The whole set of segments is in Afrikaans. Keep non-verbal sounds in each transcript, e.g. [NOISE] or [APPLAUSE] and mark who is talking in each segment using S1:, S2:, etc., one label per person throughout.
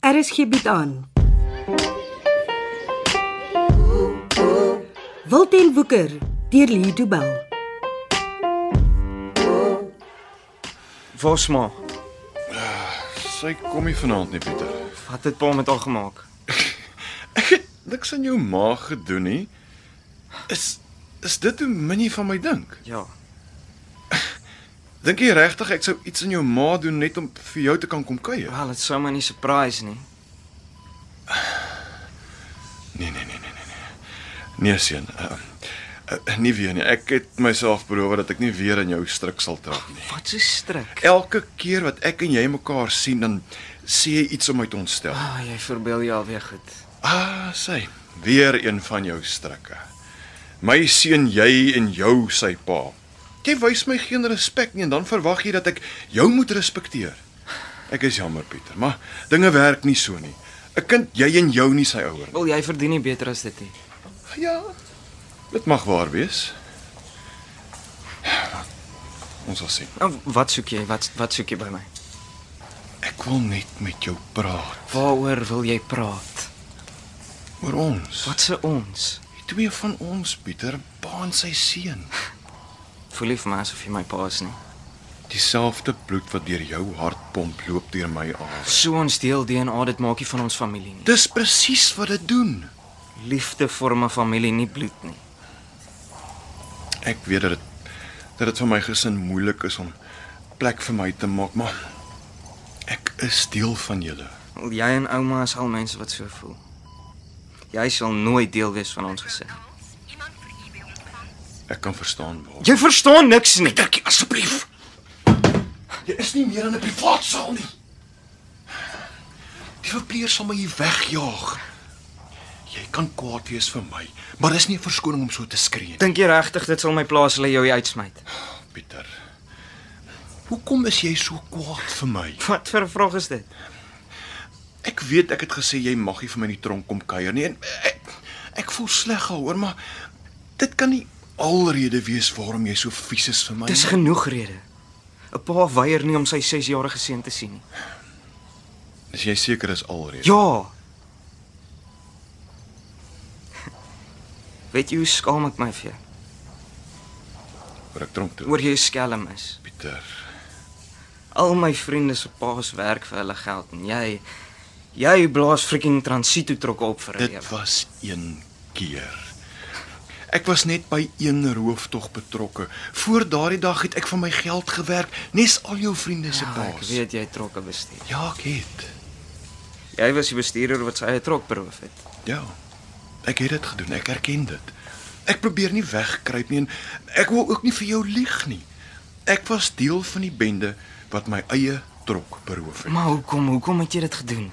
S1: RSG bied Er aan. Wilten Woeker deur Lee Du Bell.
S2: Waar's ma?
S3: Sy kom nie vanaand nie, Pieter.
S2: Wat het pa met haar gemaak?
S3: Ek het niks aan jou maag gedoen nie. Is is dit hoe min jy van my dink?
S2: Ja.
S3: Dink jy regtig ek sou iets aan jou ma doen net om vir jou te kan kom kuier?
S2: Wel, dit sou my nie surprise nie.
S3: Nee, nee, nee, nee, nee. Nee, nee seun. Uh, uh, nie weer nie. Ek het myself beloof dat ek nie weer in jou struik sal trap nie.
S2: Wat so strik.
S3: Elke keer wat ek en jy mekaar sien, dan sê jy iets om my te ontstel.
S2: Ah, jy verbeel jou alweer goed.
S3: Ah, sy, weer een van jou strikke. My seun jy en jou sy pa. Jy wys my geen respek nie en dan verwag jy dat ek jou moet respekteer. Ek is jammer Pieter, maar dinge werk nie so nie. 'n Kind jy en jou nie sy ouer nie.
S2: Wil jy verdien nie beter as dit nie.
S3: Ja. Dit mag waar wees. Ons sal sien.
S2: Nou, wat soek jy? Wat wat soek jy by my?
S3: Ek wil net met jou praat
S2: Waaroor wil jy praat?
S3: oor ons.
S2: Wat se ons?
S3: Die twee van ons, Pieter, pa en sy seun.
S2: Voel jy vir my asof jy my pa is nie?
S3: Dieselfde bloed wat deur jou hart pomp loop deur my aas.
S2: So ons deel DNA, dit maak nie van ons familie nie.
S3: Dis presies wat dit doen.
S2: Liefde vorm 'n familie, nie bloed nie.
S3: Ek weet dat dit dat dit vir my gesin moeilik is om plek vir my te maak, maar ek is deel van julle.
S2: Wel, Jy en ouma is al mense wat so voel. Jy sal nooit deel wees van ons gesin.
S3: Ek kan verstaan waarom.
S2: Jy verstaan niks nie.
S3: Pietertjie, asseblief. Jy is nie meer in 'n privaat saal nie. Die verpleeër sal my hier wegjaag. Jy kan kwaad wees vir my, maar dis nie 'n verskoning om so te skree nie.
S2: Dink jy regtig dit sal my plaas hulle jou hier uitsmyt?
S3: Pieter. Hoekom is jy so kwaad vir my?
S2: Wat vir 'n vraag is dit?
S3: Ek weet ek het gesê jy mag nie vir my in die tronk kom kuier nie en ek, ek voel sleg daaroor, maar dit kan nie alrede wees waarom jy so vies is vir my.
S2: Dis
S3: nie.
S2: genoeg redes. 'n Pa weier nie om sy 6-jarige seun te sien nie.
S3: Is jy seker is alrede?
S2: Ja. [LAUGHS] Weet jy hoe skaam ek my vir jou
S3: Oor ek tronk toe.
S2: oor jy 'n skelm is?
S3: Pieter.
S2: Al my vriende se paas werk vir hulle geld en jy jy blaas freaking transito trokke op vir 'n
S3: Dit
S2: lewe.
S3: was een keer. Ek was net by een rooftog betrokke. Voor daardie dag het ek vir my geld gewerk, nes al jou vriende se
S2: Ja, ek
S3: paas.
S2: weet jy het trokke bestuur.
S3: Ja, ek het.
S2: Jy was die bestuurder wat sy eie trok beroof het.
S3: Ja. Ek het dit gedoen. Ek erken dit. Ek probeer nie wegkruip nie en ek wil ook nie vir jou lieg nie. Ek was deel van die bende wat my eie trok beroof het.
S2: Maar hoekom? Hoekom het jy dit gedoen?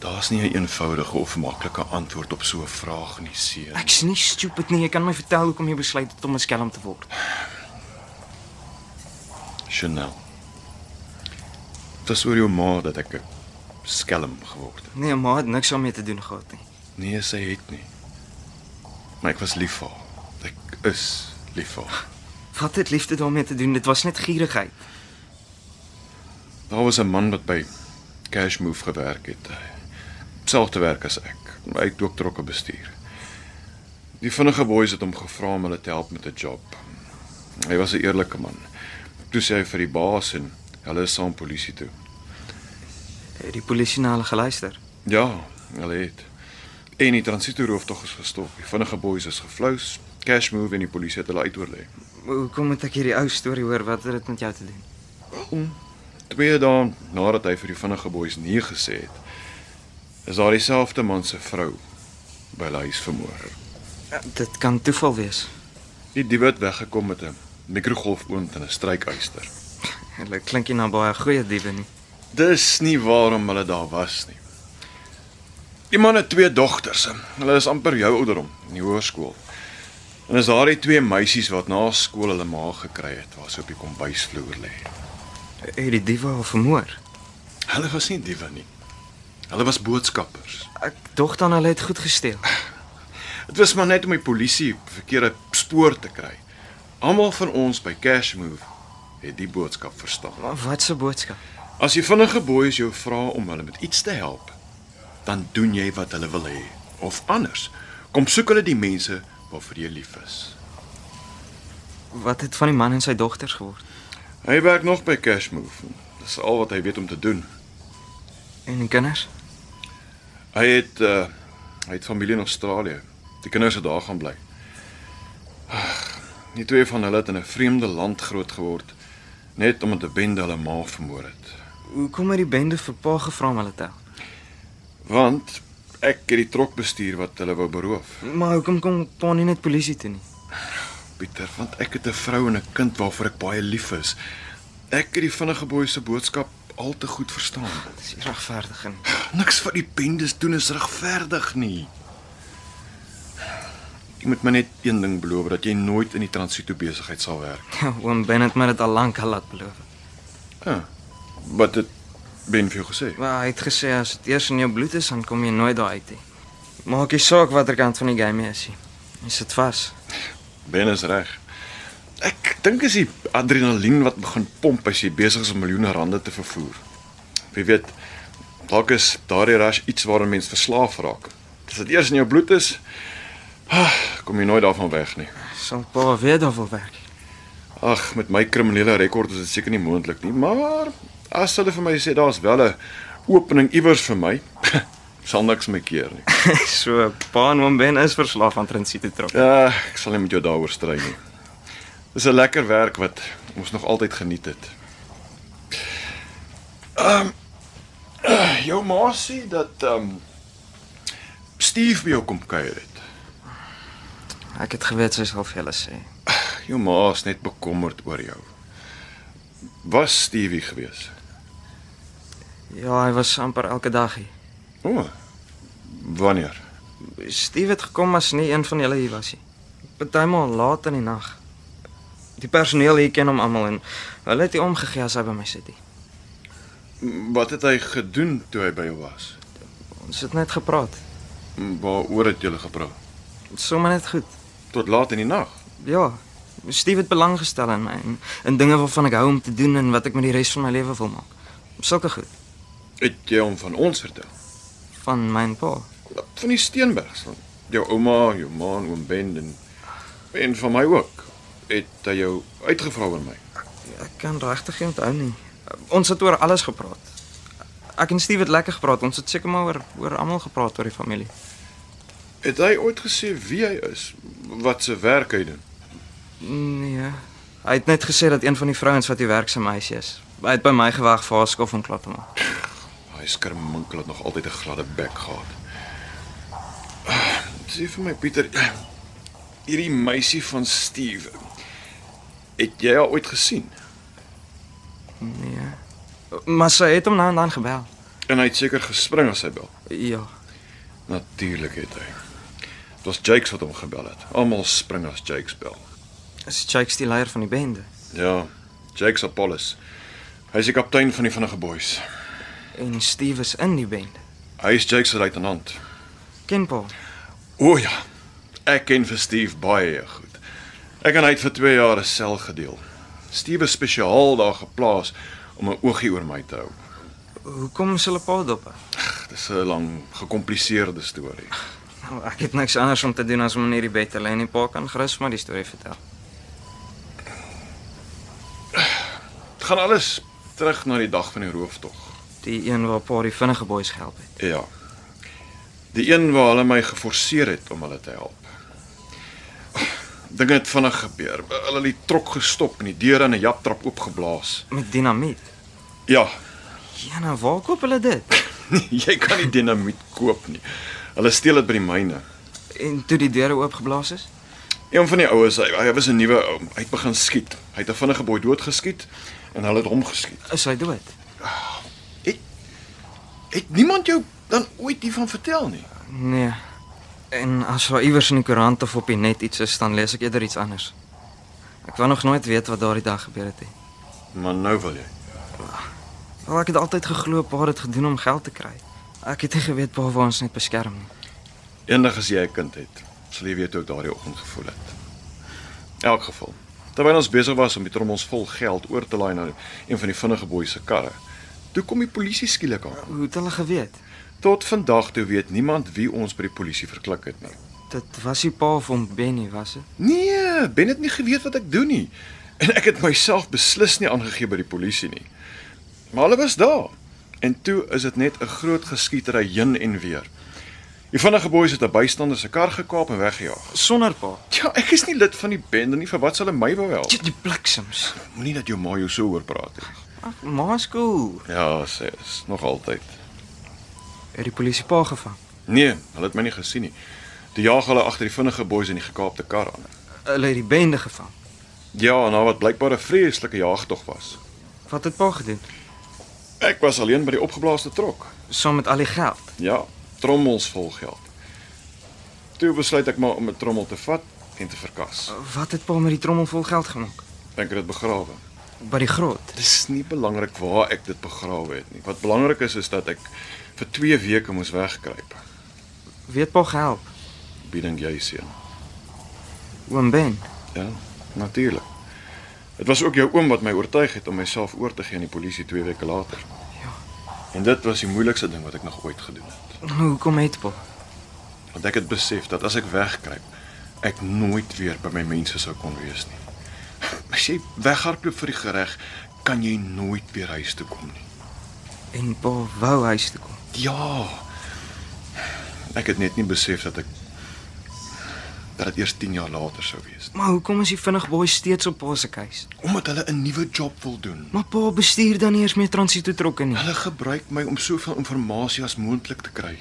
S3: Daar's nie 'n eenvoudige of maklike antwoord op so 'n vraag nie, seun.
S2: Ek's nie stupid nie. Jy kan my vertel hoekom jy besluit het om 'n skelm te word.
S3: Chanel. Dit is oor jou ma dat ek 'n skelm geword het.
S2: Nee, maar het niks daarmee te doen gehad nie.
S3: Nee, sy het nie. Maar ek was lief vir haar. Ek is lief vir haar.
S2: Wat het liefde daarmee te doen? Dit was net gierigheid.
S3: Daar was 'n man wat by Cash Move gewerk het. Selfde werk as ek. Hy het ook trokke bestuur. Die vinnige boeis het hom gevra om hulle te help met 'n job. Hy was 'n eerlike man. Toe sê hy vir die baas en hulle is saam polisie toe.
S2: Het Eh, die polisie na hulle geluister?
S3: Ja, hulle het. En die transitoroeftog is gestop. Die vinnige boeis is geflous. Cash Move en die polisie het hulle uitoorlê.
S2: Hoekom moet ek hierdie ou storie hoor? Wat het dit met jou te doen?
S3: Twee dae nadat hy vir die vinnige boeis nee gesê het, is daar dieselfde man se vrou by hulle huis vermoor.
S2: Ja, Dit kan toeval wees.
S3: Die diewe het weggekom met 'n mikrogolfoond en 'n strykuister.
S2: Hulle klink nie na baie goeie diewe nie.
S3: Dis nie waarom hulle daar was nie. Die man het twee dogters. Hulle is amper jou ouderdom in die hoërskool. En is daardie twee meisies wat na skool hulle ma gekry het, waar sy op die kombuisvloer lê.
S2: Het die diewe haar vermoor?
S3: Hulle was nie diewe nie. Hulle was boodskappers.
S2: Ek dog dan hulle het goed gesteel.
S3: Dit was maar net om die polisie op verkeerde spoor te kry. Almal van ons by Cash Move het die boodskap verstaan.
S2: Maar wat 'n boodskap.
S3: As die vinnige boeis jou vra om hulle met iets te help, dan doen jy wat hulle wil hê of anders kom soek hulle die mense waarvoor jy lief is.
S2: Wat het van die man en sy dogters geword?
S3: Hy werk nog by Cashmove. Dis al wat hy weet om te doen.
S2: En die kinders?
S3: Hy het uh hy het familie in Australië. Die kinders het daar gaan bly. Ag, Die twee van hulle het in 'n vreemde land groot geword net omdat 'n bende hulle ma vermoor het.
S2: Hoekom het die bende vir pa gevra om hulle te help?
S3: Want ek het die trok bestuur wat hulle wou beroof.
S2: Maar hoekom kom pa nie net polisie toe nie?
S3: Pieter, want ek het 'n vrou en 'n kind waarvoor ek baie lief is. Ek het die vinnige boei se boodskap al te goed verstaan.
S2: Dis nie regverdig nie. [LAUGHS]
S3: Niks wat die bendes doen is regverdig nie. Jy moet my net een ding beloof dat jy nooit in die transito besigheid sal werk.
S2: Ja, oom Ben het my dit al lank al laat beloof.
S3: Ja. Wat het Ben vir jou gesê?
S2: Maar hy het gesê as dit eers in jou bloed is, dan kom jy nooit daar uit nie. Maak nie saak watter kant van die game jy is nie. Jy sit vas.
S3: Ben is reg. Ek dink is die adrenalien wat begin pomp as jy besig is om miljoene rande te vervoer. Wie weet, dalk is daardie rush iets waaraan mens verslaaf raak. As dit eers in jou bloed is, ah, kom jy nooit daarvan weg nie.
S2: Sal pa weer daar wil werk.
S3: Ag, met my kriminele rekord is dit seker nie moontlik nie, maar as hulle vir my sê daar's wel 'n opening iewers vir my, [LAUGHS] sal niks my keer nie.
S2: [LAUGHS] so pa en oom Ben is verslaaf aan transiete trok.
S3: Ja, ek sal nie met jou daaroor stry nie. Dis 'n lekker werk wat ons nog altyd geniet het. Ehm um, uh, [CLEARS THROAT] jou ma sê dat ehm um, Steve by jou kom kuier het.
S2: Ek het geweet sy sal vir julle sê.
S3: Jou ma is net bekommerd oor jou. Was Stevie gewees?
S2: Ja, hy was amper elke dag hier.
S3: O. Oh, wanneer?
S2: Steve het gekom as nie een van julle hier was nie. Partymal laat in die nag. Die personeel hier ken hom almal en hulle het nie omgegee as hy by my sit nie.
S3: Wat het hy gedoen toe hy by jou was?
S2: Ons het net gepraat.
S3: Waaroor het julle gepraat?
S2: Sommige net goed.
S3: Tot laat in die nag.
S2: Ja. Steve het belang gestel in my en in dinge waarvan ek hou om te doen en wat ek met die res van my lewe wil maak. Sulke goed
S3: Het jy hom van ons vertel?
S2: van my en pa.
S3: Van die Steenbergs, van jou ouma, jou ma en oom Ben en en van my ook. Het hy jou uitgevra oor my?
S2: Ek kan regtig nie onthou nie. Ons het oor alles gepraat. Ek en Steve het lekker gepraat. Ons het seker maar oor oor almal gepraat oor die familie.
S3: Het hy ooit gesê wie hy is? Wat se werk hy doen?
S2: Nee. Hy het net gesê dat een van die vrouens wat hier werk se meisie is. Hy het by my gewag vir haar skof en klap te maak.
S3: Ah, Hy skerminkel het nog altyd 'n gladde bek gehad. Ah, Sê vir my Pieter, [CLEARS THROAT] hierdie meisie van Steve. Het jy haar ooit gesien?
S2: Nee. Maar sy het hom nou en dan gebel.
S3: En hy het seker gespring as hy bel.
S2: Ja.
S3: Natuurlik het hy. Dit was Jakes wat hom gebel het. Almal spring as Jakes bel.
S2: Is Jakes die leier van die bende
S3: Ja, Jakes Apollos. Hy's die kaptein van die vinnige boeis.
S2: en Steve is in die bende.
S3: Hy is Jakes se luitenant.
S2: Ken pa.
S3: O ja. Ek ken vir Steve baie goed. Ek en hy het vir 2 jaar 'n sel gedeel. Steve is spesiaal daar geplaas om 'n oogie oor my te hou.
S2: Hoekom is hulle pa dop?
S3: Ag, Dis 'n lang, gekompliseerde storie.
S2: Nou, ek het niks anders om te doen as om in hierdie bed te lê en die pa kan gerus maar die storie vertel.
S3: Dit gaan alles terug na die dag van die rooftog.
S2: Die een waar pa die vinnige boeis gehelp het.
S3: Ja. Die een waar hulle my geforseer het om hulle te help. Dinge het vinnig gebeur. Hulle het die trok gestop en die deure aan 'n japtrap oopgeblaas.
S2: Met dinamiet.
S3: Ja, [LAUGHS]
S2: Ja, nou waar koop hulle dit?
S3: jy kan nie dinamiet koop nie. Hulle steel dit by die myne.
S2: En toe die deure oopgeblaas is?
S3: Een van die oues, hy, hy was 'n nuwe ou, hy het begin skiet. Hy het 'n vinnige boy doodgeskiet en hulle het hom geskiet.
S2: Is hy dood?
S3: Het het niemand jou dan ooit hiervan vertel nie?
S2: Nee. En as daar iewers in die koerant of op die net iets is, dan lees ek eerder iets anders. Ek wou nog nooit weet wat daardie dag gebeur het nie.
S3: Maar nou wil jy.
S2: Wel, ek het altyd geglo pa het dit gedoen om geld te kry. Ek het nie geweet pa wou ons net beskerm nie.
S3: Eendag as jy 'n kind het, sal jy weet hoe ek daardie oggend gevoel het. In elk geval. Terwyl ons besig was om die trommels vol geld oor te laai na een van die vinnige boy se karre, Toe kom die polisie skielik aan.
S2: Hoe het hulle geweet?
S3: Tot vandag toe weet niemand wie ons by die polisie verklik het nie.
S2: Dit was die pa van Benny, was dit?
S3: Nee, Ben het nie geweet wat ek doen nie. [LAUGHS] En ek het myself beslis nie aangegee by die polisie nie. Maar hulle was daar. En toe is dit net 'n groot geskietery heen en weer. Die vinnige boeis het 'n bystander se kar gekaap en weggejaag.
S2: Sonder pa.
S3: Ja, ek is nie lid van die bende nie, vir wat sal hulle my wou help?
S2: Tjie, Die bliksems.
S3: Moenie dat jou ma jou so oor praat nie.
S2: Ag, ma skool.
S3: Ja, sy is nog altyd.
S2: Het die polisie pa gevang?
S3: Nee, hulle het my nie gesien nie. Toe jaag hulle agter die vinnige boeis in die gekaapte kar aan.
S2: Hulle het die bende gevang.
S3: Ja, na wat blykbaar 'n vreeslike jaagtog was.
S2: Wat het pa gedoen?
S3: Ek was alleen by die opgeblaaste trok.
S2: Saam met al die geld.
S3: Ja, trommels vol geld. Toe besluit ek maar om 'n trommel te vat en te verkas.
S2: Wat het pa met die trommel vol geld gemaak?
S3: Ek het dit begrawe.
S2: By die grot.
S3: Dis nie belangrik waar ek dit begrawe het nie. Wat belangrik is is dat ek vir 2 weke moes wegkruip.
S2: Weet pa gehelp?
S3: Wie dink jy seën?
S2: Oom Ben.
S3: Ja, natuurlik. Dit was ook jou oom wat my oortuig het om myself oor te gee aan die polisie 2 weke later.
S2: Ja.
S3: En dit was die moeilikste ding wat ek nog ooit gedoen het.
S2: Nou, hoekom het pa?
S3: Want ek het besef dat as ek wegkruip, ek nooit weer by my mense sou kon wees nie. As jy weghardloop vir die gereg, kan jy nooit weer huis toe kom nie.
S2: En pa wou huis toe kom.
S3: Ja. Ek het net nie besef dat ek dat dit eers 10 jaar later sou wees nie.
S2: Maar hoekom is die vinnig boy steeds op pa se keus?
S3: Omdat hulle 'n nuwe job wil doen.
S2: Maar pa bestuur dan nie eens meer transito trokke nie.
S3: Hulle gebruik my om soveel inligting as moontlik te kry.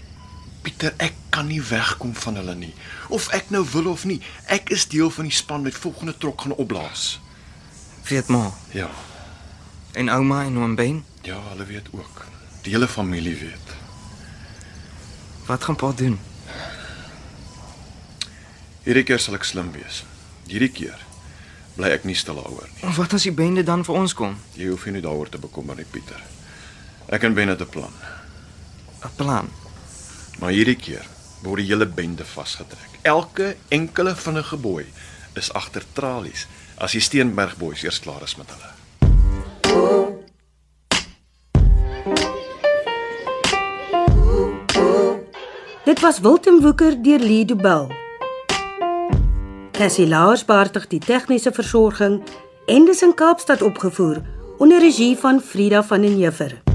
S3: Pieter, ek kan nie wegkom van hulle nie. Of ek nou wil of nie, ek is deel van die span wat volgende trok gaan opblaas.
S2: Weet ma.
S3: Ja.
S2: En ouma en oom Ben,
S3: Ja, hulle weet ook. Die hele familie weet.
S2: wat gaan pa doen?
S3: Hierdie keer sal ek slim wees. Hierdie keer bly ek nie stil daaroor nie.
S2: Of wat as die bende dan vir ons kom?
S3: Jy hoef nie daaroor te bekommer nie, Pieter. Ek en Ben het 'n plan,
S2: 'n Plan.
S3: maar hierdie keer word die hele bende vasgetrek. Elke enkele van 'n geboei is agter tralies as die Steenberg boeis eers klaar is met hulle.
S1: Dit was Wilten Woeker deur Lee Du Bell. Cassie Lars beheer die tegniese versorging en dis in Kaapstad opgevoer onder regie van Frida van den Heever.